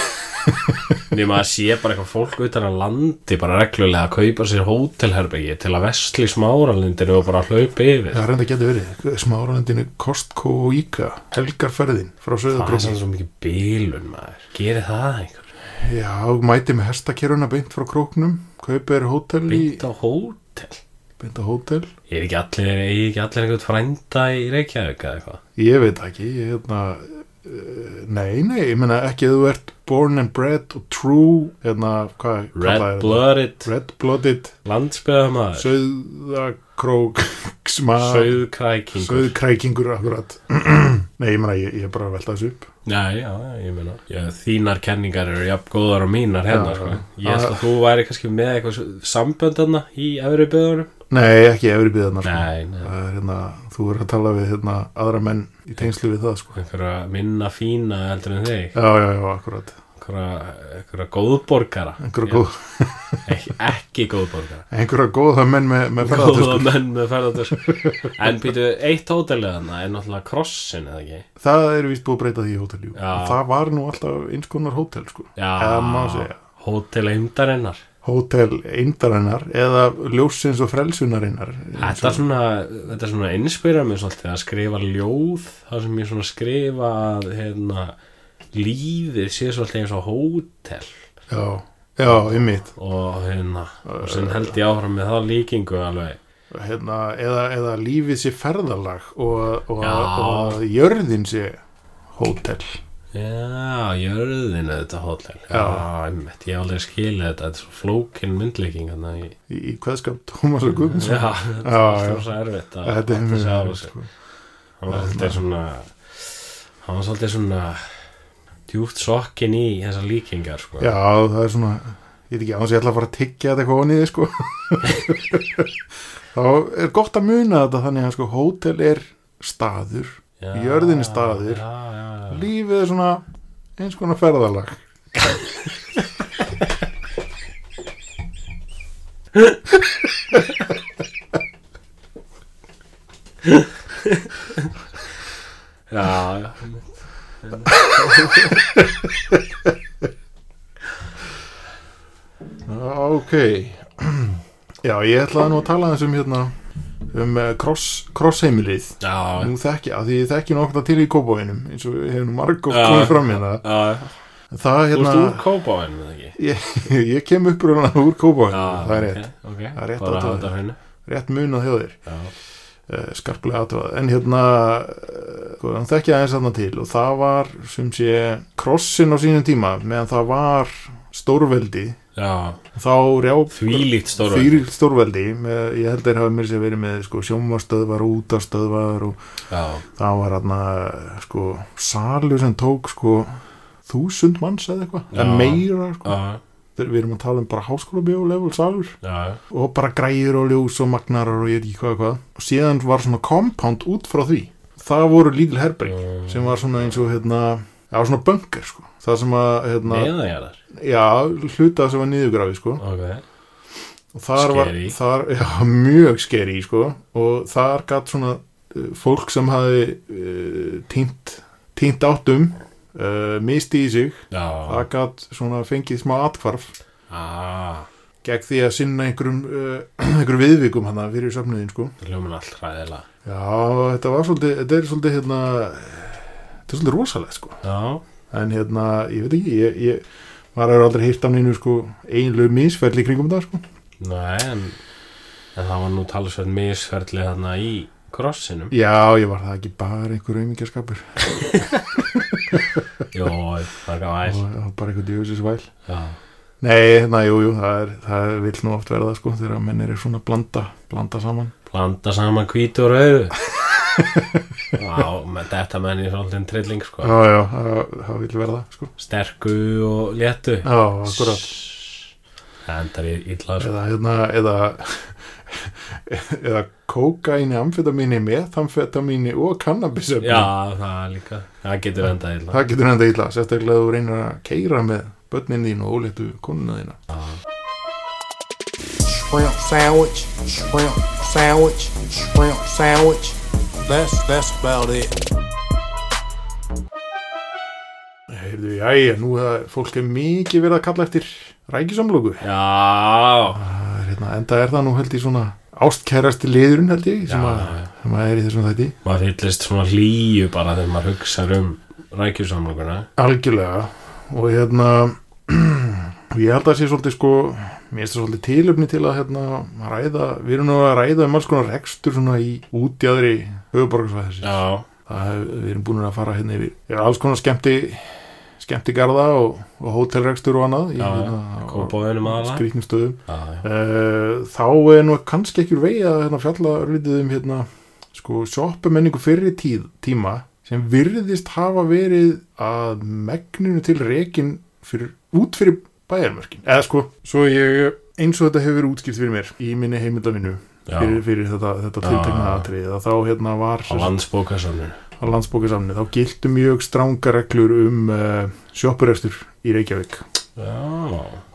nema að sé bara eitthvað fólk utan að landi bara reglulega að kaupa sér hótelherbyggi til að vesli smáralindinu og bara hlaupa yfir
Það reynda getur verið, smáralendinu Kostko og Íka, helgarferðin frá
Það er
Söðabróki.
sann svo mikið bílun maður Gerir það einhver?
Já, mæti með hestakeruna beint frá króknum, kaupið er hótel í,
Bytt á hótel
beint á hótel.
Er ekki allir, er ekki allir einhvern frænda í Reykjavík eða eitthvað?
Ég veit það ekki, ég hefna, uh, nei, nei, ég meina ekki að þú ert born and bred og true, hérna, hvað
Red
kallaði þetta?
blooded
Red blooded,
landsbyða maður
*laughs* söðakrók, smar,
Söðkrækingur
söðkrækingur akkurat. *clears throat* nei, ég meina, ég, ég er bara að velta þessu upp.
Já, já, ég meina já, Þínar kenningar eru jafn góðar og mínar hérna,
Já, Ah.
sko
já.
Ég held að þú væri kannski með eitthvað samböndanna í efri byggðunum
Nei, ekki efri byðanar.
Nei, nei,
Það er hérna, þú verður að tala við hérna aðra menn í tengslu við það sko.
einhverja minna fína heldur en þig
Já, já, já, akkurat.
Einhverja, einhverja góðborgara
Einhverja,
Já,
góð,
Ekki, ekki góðborgara
einhverja góða menn með, með ferðartösku.
Góða menn með ferðartösku En býtu, eitt hótelið þarna er náttúrulega krossin eða ekki
Það er vist búið að breyta því í hótel, jú.
Já.
Og Það var nú alltaf eins konar hótel sko. Eða má
Já,
segja.
hótel heimdarinnar
Hótel eindarinnar eða ljósins og frelsunarinnar.
Þetta er svona, þetta er svona inspyrar mig svolítið að skrifa ljóð þar sem ég svona skrifa að hérna, lífið sé svolítið eins og hótel
Já, já, ymmit.
og hérna og sem held ég áfram með það líkingu alveg
Hérna, eða, eða lífið sé ferðalag og, og,
Já.
og að jörðin sé hótel.
Já, jörðin er þetta hótel Já,
Já.
einmitt, ég hef aldrei skilið þetta þetta er svo flókin myndlíking þannig að ég-
Í, í kveðskap Tómas og Guðmunds.
Já, þetta er
Já, já.
alltaf svo erfitt að
Þetta er
átta sig á
mjög,
þessu.
sko.
Hann var svolítið svona hann var svolítið svona djúpt sokkin í þessar líkingar sko.
Já, það er svona ég veit ekki annars ég ætla að fara að tyggja þetta eitthvað onnið sko. *laughs* þá er gott að muna þetta þannig að sko, hótel er staður
Já,
Jörðin er staður.
já, já, já.
lífið er svona eins konar ferðalag
Já, já
*clears throat* Já, ok já, ég ætlaði nú að tala þessum hérna um eh, cross, crossheimilið
Já,
nú þekki, að því ég þekki nokkna til í kópáinum eins og hefur nú margótt
Já.
komið fram hérna
já,
það
þú
hérna,
ert úr kópa á henni, eða ekki?
ég, *laughs* ég kem uppur úr kópáinu,
Já,
það er
ok,
rétt
ok.
Það er
Bara
rétt að
hafa
það.
þetta á henni
rétt munað hjá þér
Já.
uh, skarplega aðtöfað en hérna eh, sko, hann þekkja aðeins þarna til og það var sem sé krossin á sínum tíma meðan það var stórveldi
Já,
þá rjáp
þvílíkt stóra
Þýr stórveldi, með, ég held þeir hafa mér sér verið með sko, sjómastöðvar, útastöðvar og
Já,
það var hérna sko, salu sem tók sko, þúsund manns eða eitthvað, en
Já.
meira sko.
já,
Þeir- við erum að tala um bara háskóla level salur
já
og bara græjur og ljós og magnarar og ég veit ekki hvað og hvað og síðan var svona compound út frá því það voru lítil herberg
Mm.
sem var svona eins og hérna það var svona bunker sko það sem að hérna
Neðanjarðar
já hluta sem var niðurgrafi sko
Ok,
og þar var
Scary.
þar, *laughs* já, mjög skeri sko og þar gatt svona eh, fólk sem hafi uh, týnt týnt áttum uh, misti í sig
já
það gatt svona fengið smá atkvarf
Ah,
gegn því að sinna einhverjum, uh, *clears throat* einhverjum viðvikum hana fyrir söfniðin sko
það hljóman allt hræðilega
Já, þetta var svolítið, þetta er svolítið hérna, þetta er svolítið rosalegt sko
Já,
en hérna, ég veit ekki, ég, ég maður hefur aldrei hýrt af nýnu sko eiginlegu misferli í kringum það sko
nei, en, en það var nú talisverð misferðli þarna í krossinum
Já, ég var það ekki bara einhver auðmingjaskapur
Jó, það er
og
gæl
og bara einhver djöfisins væl
Já,
Nei, hérna, jú, jú, það er, það er vill nú oft verða sko þegar menn eru svona að blanda, blanda saman
blanda saman hvítu og rauðu Já, menn, þetta menn ég svolítið en trilling,
Já,
sko
já, það, það vill verða sko
Sterku og léttu
Já, akkurat
Það endar í illa, sko
eða hérna eða *laughs* eða kókaini, amfetamíni, metamfetamíni og kannabisöfni
Já, það líka Það getur endað illa
það getur enda illa, sérstaklega ef þú reynir að keira með börnin þín og óléttu konuna þína
shrimp sandwich, shrimp sandwich, shrimp sandwich. That's that's about it.
Heyrðu, jæja, nú það, fólk er mikið verið að kalla eftir rækisamlóku
Já,
hérna, enda er það nú held ég svona ástkærasti liðurinn held ég sem,
Já,
að,
já.
sem að er í þessum þætti
maður fyllist svona hlýju bara þegar maður hugsa um rækjusamlokuna
algjörlega og hérna *clears throat* og ég held að það sé svolítið sko mér finnst það svolítið tilöfni til að hérna ræða, við erum nú að ræða um alls konar rekstur svona í útjæðri höfuborgarsvæðis
Já,
það hef, við erum búin að fara hérna yfir er alls konar skemmti skemmtigarða og, og hótelrekstur og annað í,
Já, já.
hérna,
kópaðunum
og
aðalega
skrýtnum stöðum
Já, já,
uh, þá er nú kannski ekki úr vegi að hérna, fjalla örlítið um hérna sko sjoppumenningu fyrri tíð, tíma sem virðist hafa verið að megninu til rekin fyrir, út fyrir bæjarmörkin eða sko, svo ég eins og þetta hefur verið útskipt fyrir mér í minni heimildavinu fyrir,
já
fyrir þetta, þetta
Já.
tiltekna atrið að þá hérna var
Á landsbókasamnun
á landsbókasamni þá gildu mjög stranga reglur um uh, sjoppurekstur í Reykjavík
Já,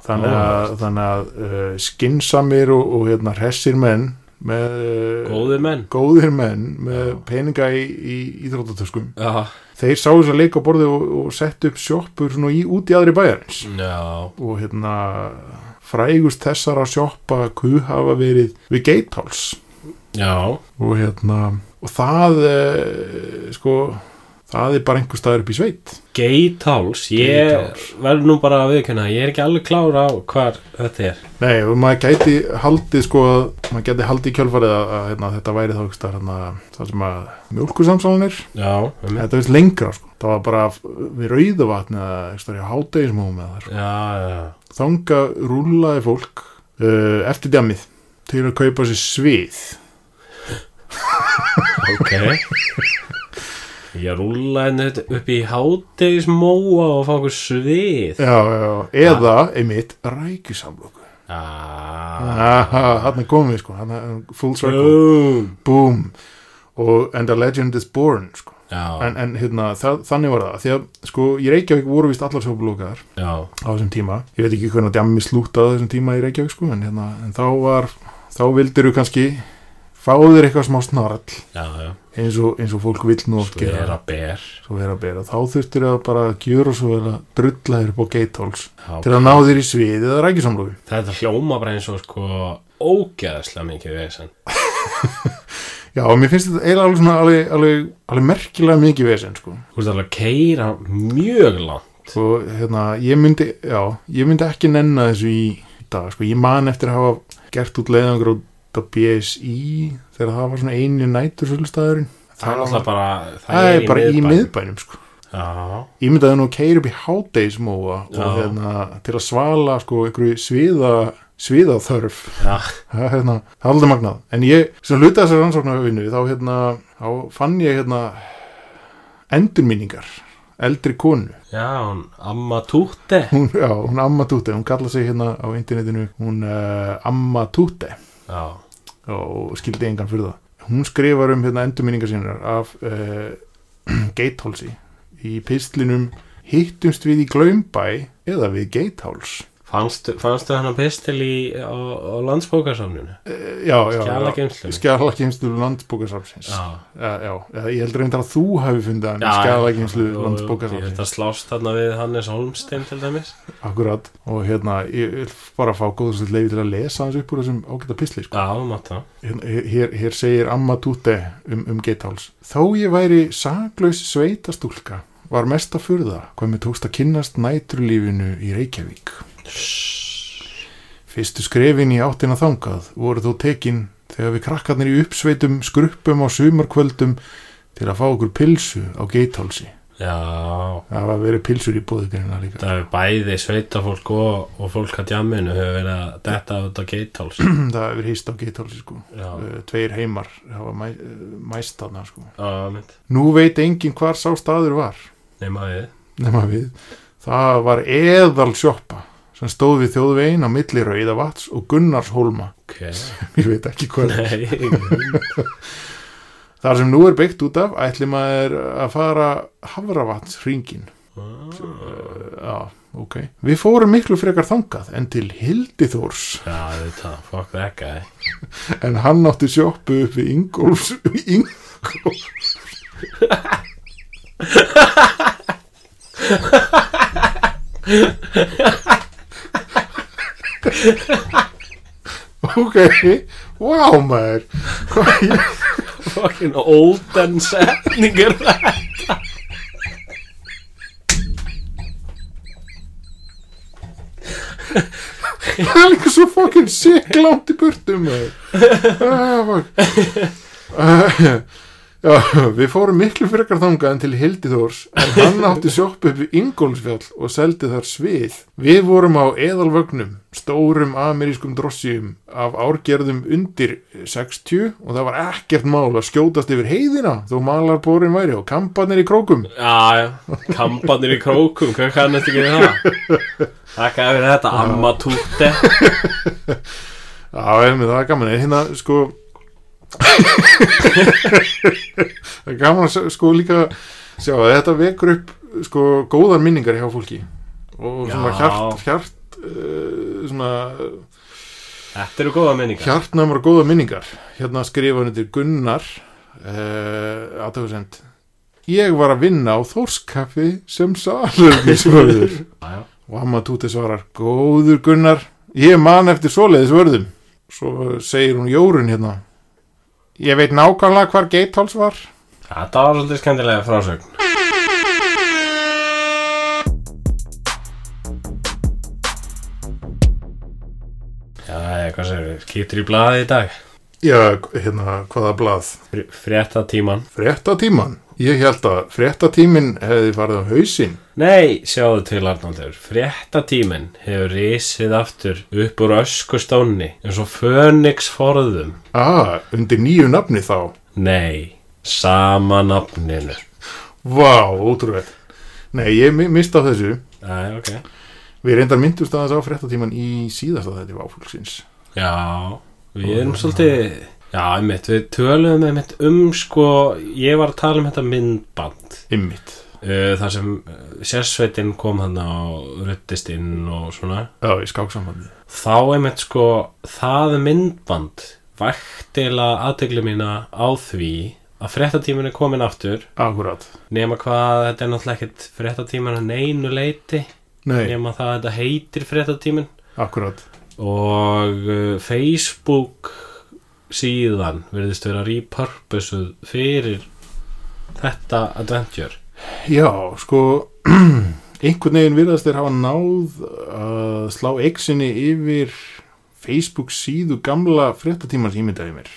þannig að, þannig að uh, skinsamir og, og hérna hressir menn með uh,
góði menn
góðir menn með
Já.
peninga í, í íþróttatöskum
Já,
þeir sáu þess að leika á borði og, og settu upp sjoppur svona í, út í aðri bæjarins
já,
og hérna frægust þessara sjoppa kuh hafa verið við geitháls
já
og hérna og það uh, sko það er bara einhver staður upp í sveit
Geitháls, ég
Geitháls.
verð nú bara að viðkynna Ég er ekki alveg klára á hvar þetta er
Nei, og maður gæti haldið sko að maður gæti haldið í kjölfarið að, að hérna, þetta væri þá ekki hérna, það sem að mjölkusamsálan er
Já, um
þetta veist lengra sko það var bara f- við rauðavatn eða ekstra hjá hátegismóum eða þar sko.
Já, já,
þanga rúlaði fólk uh, eftir djamið til að kaupa sér svið *laughs*
ok Ég rúla henni upp í hátegismóa og fá okkur svið
já, já, eða einmitt rækjusamlóku
Ah,
hann komum við sko hana, full circle,
Boom
boom og, and a legend is born sko
Já,
en, en hérna, það, þannig var það því að sko í Reykjavík voru vist allar sjóflókaðar
já,
á þessum tíma ég veit ekki hvernig að djammi slútaði á þessum tíma í Reykjavík sko en, hérna, en þá var þá vildir þú kannski fáður eitthvað smá snarl
já, já
eins og, eins og fólk vill nú oft
Svo er
gera
að ber
svo vera að bera þá þurftir að bara gjöra svo vel að drulla þér upp á geithols
Já,
til að ná þér í sviðið eða rækisamlófi
Þetta hljóma bara eins og sko ógeðslega mikið veginn
Já, og mér finnst þetta eiginlega alveg svona alveg, alveg, alveg merkilega mikið vesinn sko.
Þú veist alveg að keira mjög langt
og hérna, ég myndi já, ég myndi ekki nenna þessu í dag, sko, ég man eftir að hafa gert út leiðangur út á BSI þegar það var svona einu nætur svolstaðurinn
Það er alltaf bara
það er bara í miðbænum sko.
Já,
ég myndi að nú keiri upp í hátdeismóa
Já.
og hérna, til að svala sko, einhverju sviða sviðaþörf *laughs*
já,
það er hérna, það er aldrei magnað en ég, sem hluta þessar rannsóknarvinnu þá, hérna, þá fann ég hérna, endurminningar eldri konu
já, hún amma tútti
hún, já, hún Amma Tute, hún kallaði sig hérna á internetinu hún uh, Amma Tute
Já,
og skildi engan fyrir það hún skrifar um hérna endurminningar sínar af *clears throat* uh, geithálsi í pistlinum hittumst við í Glaumbæ eða við geitháls
fannstu, fannstu hennar pistil í, á, á landsbókarsafninu?
Eh, já, já,
Skjalageymslunni.
skjalageimslu landsbókasafnsins já. já, eða ég heldur reyndar að þú hafi fundið hann skjalageimslu
Ég veit
landsbókasafnsins
að slást þarna við Hannes Holmstein til dæmis
akkurat og hérna, ég vil bara fá góðsveit leiði til að lesa hans upp úr þessum ágæta pistli sko.
Já, mátt það
Hérna, hér, hér segir Amma Tute um, um geitháls þó ég væri saklaus sveitastúlka var mest að furða hvað mér tókst að kynnast næturlífinu í Reykjavík fyrstu skrefin í áttina þangað voru þó tekin þegar við krakkarnir í uppsveitum skruppum á sumarkvöldum til að fá okkur pilsu á geithálsi
Já,
það var verið pilsur í bóðugrina líka
það er bæði sveitafólk og, og fólk að djamminu hefur verið að detta út á *coughs* geitháls
*clears throat* það hefur hýst á geithálsi sko
Já,
Eh, tveir heimar hafa mæ, mæst þarna sko
já, mynd,
nú veit enginn hvar sá staður var
nema við
nema við, það var eðal sjoppa sem stóð við þjóðvegin á milli Rauðavatns og Gunnarshólma *laughs*
Ok,
ég veit ekki hvað er.
nei *laughs* mynd.
þar sem nú er byggt út af ætli maður að fara Hafravatns hringin eh, já, ok við fórum miklu frekar þangað en til Hildiþórs
Já, þetta, fuck that guy
en hann átti sjoppu upp við Ingolfs Ingolfs Ok, wow maður Hvað ég
Fucking olden setningur
það er líka svo fucking sick langt í burtu maður ah, fuck. Ah, Já, við fórum miklu frekar þangað en til Hildiþórs en hann átti sjoppu upp við Ingólfsfjall og seldi þar svið. Við vorum á eðalvögnum, stórum amerískum drossjum af árgerðum undir 60 og það var ekkert mál að skjótast yfir heiðina þó malarborin væri og kampanir í krókum.
Já, já, kampanir í krókum, hvað kann þetta ekki við það? Takk að fyrir þetta, amma tútti
Já, emi, það er gaman, en hérna sko það er gaman að sjá- sko líka sjá að þetta vekur upp sko góðar minningar hjá fólki og svona
Já.
hjart, hjart uh, svona
Þetta eru góða minningar
hjartnæmar og góðar minningar hérna skrifa hann til Gunnar uh, aðtöfusend ég var að vinna á Þórskaffi sem salur misvörður
Já, já.
og amma Túti svarar góður Gunnar, ég man eftir svoleiðis vörðum svo segir hún Jórun hérna ég veit nákvæmlega hvar geitháls var
Þetta var svolítið skemmtilega frásögn Já, já, hvað segir við? Skiptir í blaði í dag
já, hérna, hvaða blað
Fr- Fréttatíman
fréttatíman, ég held að fréttatímin hefði farið á hausinn
Nei, sjáðu til Arnaldur, fréttatíminn hefur risið aftur upp úr öskustónni eins og fönix forðum.
ah, undir nýju nafni þá
Nei, sama nafninu.
vá, ótrúveld nei, ég mi- misti af þessu
Æ, ok.
við reyndar myndumst aðeins á fréttatíman í síðasta þetta váfólksins
Já, við erum svolítið... Já, einmitt, við töluðum einmitt um sko, ég var að tala um þetta myndband
ymmit,
uh, þar sem uh, sérsveitin kom hann og ruttist inn og svona
já, í skáksambandi
þá einmitt sko það myndband væktila aðteglu mína á því að fréttatíminn er komin aftur
akkurat,
nema hvað þetta er náttúrulega ekkert fréttatíminn að neinu leiti
nei,
nema það að þetta heitir fréttatíminn
akkurat
og uh, eh, Facebook síðan verðist vera repurposuð fyrir þetta adventure
Já, sko *clears throat* einhvern veginn virðast þeir hafa náð að slá eksinni yfir Facebook síðu gamla fréttatímans ímyndaði mér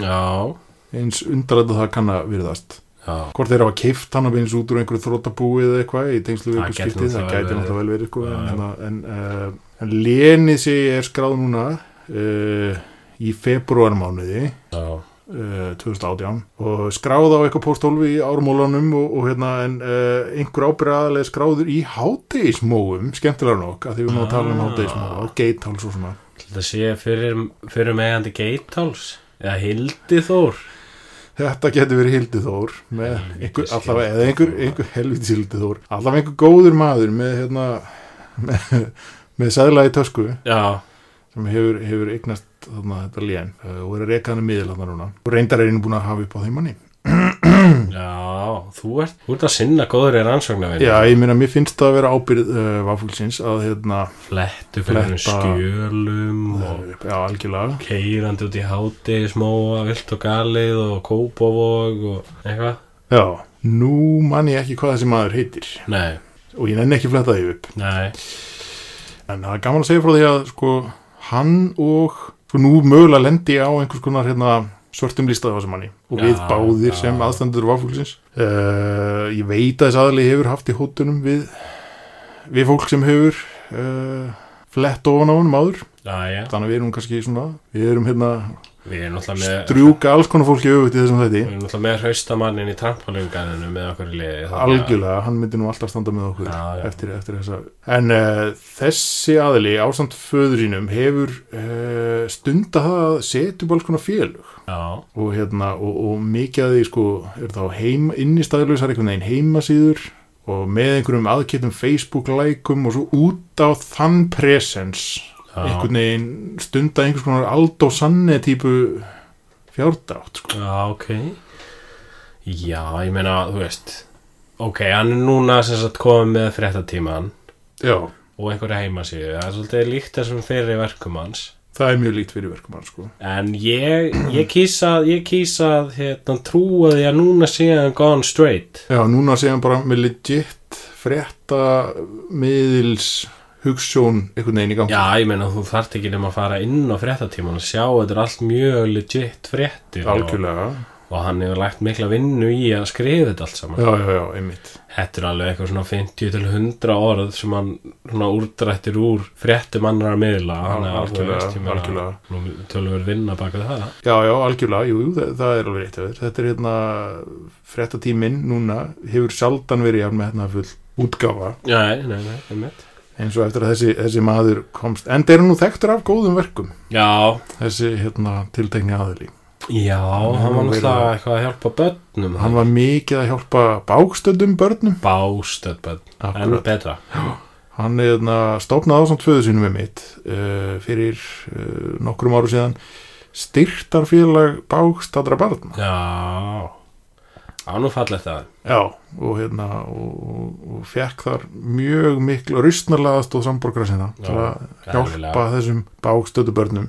Já,
eins undrarlega það kann að virðast
já
hvort þeir hafa keift hann að beins út úr einhverju þrótabúi eða eitthvað í tengslu við
Það
eitthvað
gæti
skiptið, það
náttúrulega
gæti
verið.
náttúrulega vel verið sko,
Já, já.
en, en, uh, en lenið sé er skráð núna uh, í februarmánuði
Já,
uh, 2018 og skráð á eitthvað póstólfi í ármólanum og, og hérna en uh, einhver ábyrðaðlega skráður í hátegismóum, skemmtilega nokk að því við máum að tala um
Ah.
hátegismóa, geitháls og svona
þetta sé fyrir, fyrir meðandi Geitháls eða Hildi Þór
Þetta getur verið Hildi Þór með
Helvítis
einhver, allavega, eða
Hildi
einhver,
Þór.
einhver helvitis Hildi Þór allavega einhver góður maður með hérna, með, með sæðlaði tösku
Já,
sem hefur, hefur eignast þarna þetta lén eh, og er að reka hann í miðl þarna núna og reyndar er einu búin að hafa upp á þeim manni
Hmm. já, þú ert, þú ert að sinna góður er ansvagnavinn
Já, ég meina, mér finnst það að vera ábyrð uh, vafulsins að hérna,
Flettu fyrir
Fletta.
skjölum og
já, algjörlega
keirandi út í háti, smóa, vilt og galið og kópavog og eitthvað
Já, nú mann ég ekki hvað þessi maður heitir
Nei,
og ég nenni ekki fletta því upp
nei,
En það er gaman að segja frá því að sko, hann og sko, nú mögulega lendi ég á einhvers konar hérna, svörtum lista af þessum manni og við
Já,
báðir
já.
sem aðstandur vafúlsins uh, Ég veit að þess aðli hefur haft í hóttunum við, við fólk sem hefur uh, flett ofan á hann máður
já, já
þannig að við erum kannski svona við erum hérna
Við erum náttúrulega með,
strjúka alls konar fólki öfugt í þessum þætti
við erum náttúrulega með haustamannin í trampolunganinu með okkur í liði þannig að-
algjörlega, hann myndi nú alltaf standa með okkur
Já, já.
Eftir, eftir þessa en uh, þessi aðli ásamt föður sínum hefur uh, stunda það að setja upp alls konar félug
Já,
og, hérna, og, og mikið að því sko er þá heim, innistæðlausar einhvern veginn heimasíður og með einhverjum aðkettum Facebook-lækum og svo út á þann presens
já,
einhvern veginn stunda einhvers konar Aldo Sanne típu fjárdátt sko.
já, ok Já, ég meina, þú veist Ok, hann er núna sem sagt komið með fréttatíman
já,
og einhverja heimasíðu Það er svolítið líkt þessum fyrir verkum hans
það er mjög líkt fyrir verkum hans sko
En ég, ég kýsa, ég kýsa hérna, trúa því að núna sé hann gone straight.
Já, núna sé hann bara með legit frétta miðils hugssjón einhvern veginn í gangi.
Já, ég meina þú þarft ekki nema að fara inn á fréttatíman og sjá, þetta er allt mjög legit fréttir.
Algjörlega.
Og, og hann hefur lægt mikla vinnu í að skrifa þetta allt saman.
Já, já, já, einmitt.
Þetta er alveg eitthvað svona 50 til 100 orð sem hann svona úrdrættir úr fréttum annara miðla. Þannig að alveg
Algjörlega,
veist, ég meina,
algjörlega.
nú tölum við vinna baka það.
Já, já, algjörlega, jú, jú, það, það er alveg rétt að vera. Þetta er hérna, fréttatíminn núna hefur sjaldan verið jafn með hérna full útgafa
Nei, nei, nei, einmitt.
eins og eftir að þessi, þessi maður komst. En þeir eru nú þekktur af góðum verkum,
Já,
þessi hérna tiltekni aðili.
já, hann var
hefur verið
náttúrulega
að-
eitthvað að hjálpa börnum.
Hann var mikið að hjálpa bákstöldum börnum.
bástöð börn. enn
Akkurat.
betra
Hann er þarna stofnað á samt föðu sínum með mitt uh, fyrir uh, nokkrum áru síðan styrtarfélag bákstadra barna.
já ánum fallið það
Já, og hérna og, og, og fekk þar mjög miklu rustnarlaðast og samborgra sinna
Já,
til að
glæðilega.
hjálpa þessum bákstötu börnum.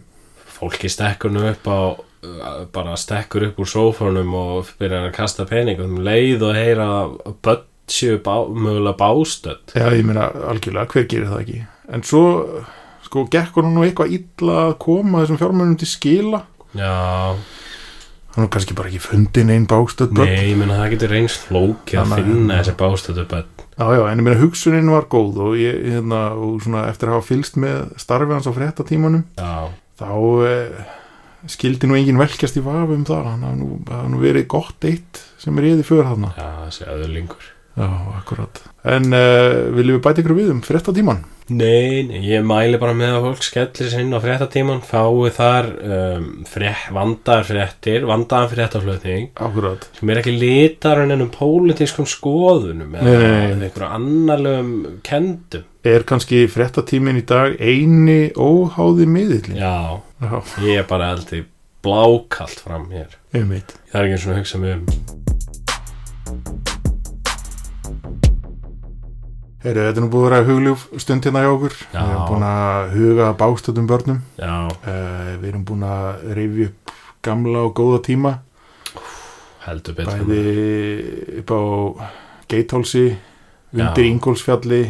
fólki stekkur nú upp á uh, bara stekkur upp úr sófónum og byrjar að kasta peningum leið og heyra að börn séu bá, mögulega bástöð
Já, ég meina algjörlega, hver gerir það ekki? En svo, sko, gekk hann nú eitthvað illa að koma þessum fjármönum til skila.
já,
Hann var kannski bara ekki fundin einn bákstötu börn.
nei, ég menna það getur eins flókið að
Þannig að-
finna þessi bástöðu börn
Já, já, en ég meina hugsunin var góð og, ég, hérna, og svona, eftir að hafa fylst með starfi hans á fréttatímanum
já,
þá eh, skildi nú engin velkjast í vafa um það hann hafði nú, hafði nú verið gott eitt sem er yfir fyrir þarna
já, þessi öðurlingur
Já, akkurat En uh, viljum við bæta ykkur við um fréttatíman?
Nei, nei, ég mæli bara með að fólk skellir sér inn á fréttatíman, fái þar um, frek, vandar fréttir, vandaðan fréttaflöðning
Akkurat
sem er ekki litar en ennum pólitískum skoðunum eða
Nei, nei, nei.
einhverju annarlegum kendum
Er kannski fréttatímin í dag eini óháði miðillin?
Já,
Já,
ég er bara aldrei blákalt fram hér
um eitt
Ég þarf ekki eins og að hugsa mig um
Heru, þetta er nú búið að vera hugljúf stund hérna hjá okkur
Já.
Eh, Við erum búin að huga bástöldum börnum
Já,
uh, Við erum búin að rifja upp gamla og góða tíma
heldur betur
bæði upp á Geithálsi
Já.
undir Ingólfsfjalli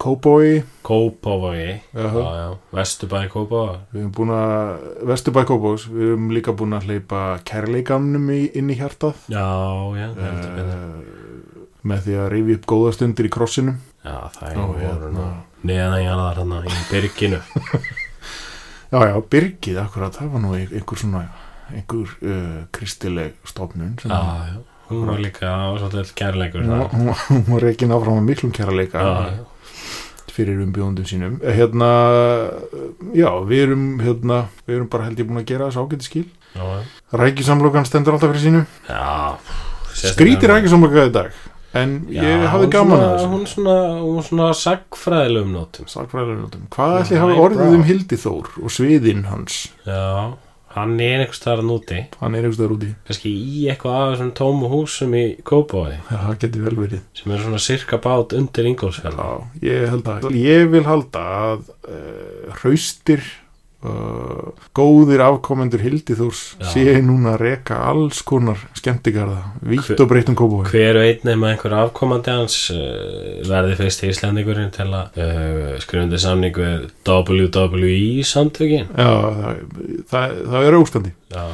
Kóbói
Kópavogi
Jaha.
Já, já. Vesturbæði Kópavogi
við erum búin að, Vesturbæ Kóbós við erum líka búin að hleypa kærleikanum í, inn í hjartað
Já, já, heldur betur
uh, með því að rifja upp góða stundir í krossinum
Já, það
Ó,
er voru nú
hérna.
Neðan jarðar hann í
*laughs*
byrginu
Já, já, Byrgið, akkurat, það var nú ein- einhver svona einhver uh, kristileg stofnun sem
Já, já Hún var líka það var svolítið kærleikur
hún,
þar.
hún, hún var reikin áfram með miklum kærleika
Já, já.
fyrir umbjóðundum sínum Eh, hérna, já, við erum hérna, við erum bara held ég búin að gera þessu ágæti skil
Já, já.
Rækisamlokan stendur alltaf fyrir sínu
Já, sérstaklega-
Skrítir rækisamloka í dag En ég
Já,
hafði
hún
gaman
svona-
að þessu
Hún svona, hún svona sagfræðilegum nótum
Sakfræðarljótum Hvað ætli
Já,
hafi
highbrow.
orðið um Hildi Þór og sviðinn hans
Já, hann er einhvers þar núti
Hann er
*laughs*
einhverstaðar úti
kannski í eitthvað af þessum tómu húsum í Kópavogi
Já, það geti vel verið
sem eru svona sirka bát undir Ingólfsfjall
Já, ég held að Ég vil halda að uh, hraustir uh, góðir afkomendur Hildi Þórs
Já.
sé núna að reka alls konar skemmtigarða vítt
Hver-
og breytt um kópói
Hver veit nema einhver afkomandi hans uh, verði fyrst íslendingurinn til að uh, skrifundi samning við WWE samtökin
Já, það, það, það er ástandi.
Já,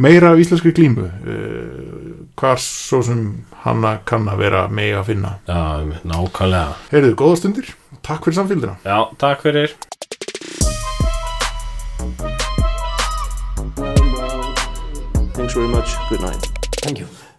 Meira af íslenskri glímu, uh, hvar svo sem hanna kann að vera megi að finna.
já, einmitt, nákvæmlega
Heyrðu, góða stundir, takk fyrir samfélgina.
Já, takk fyrir
Thanks very much. Good night.
Thank you.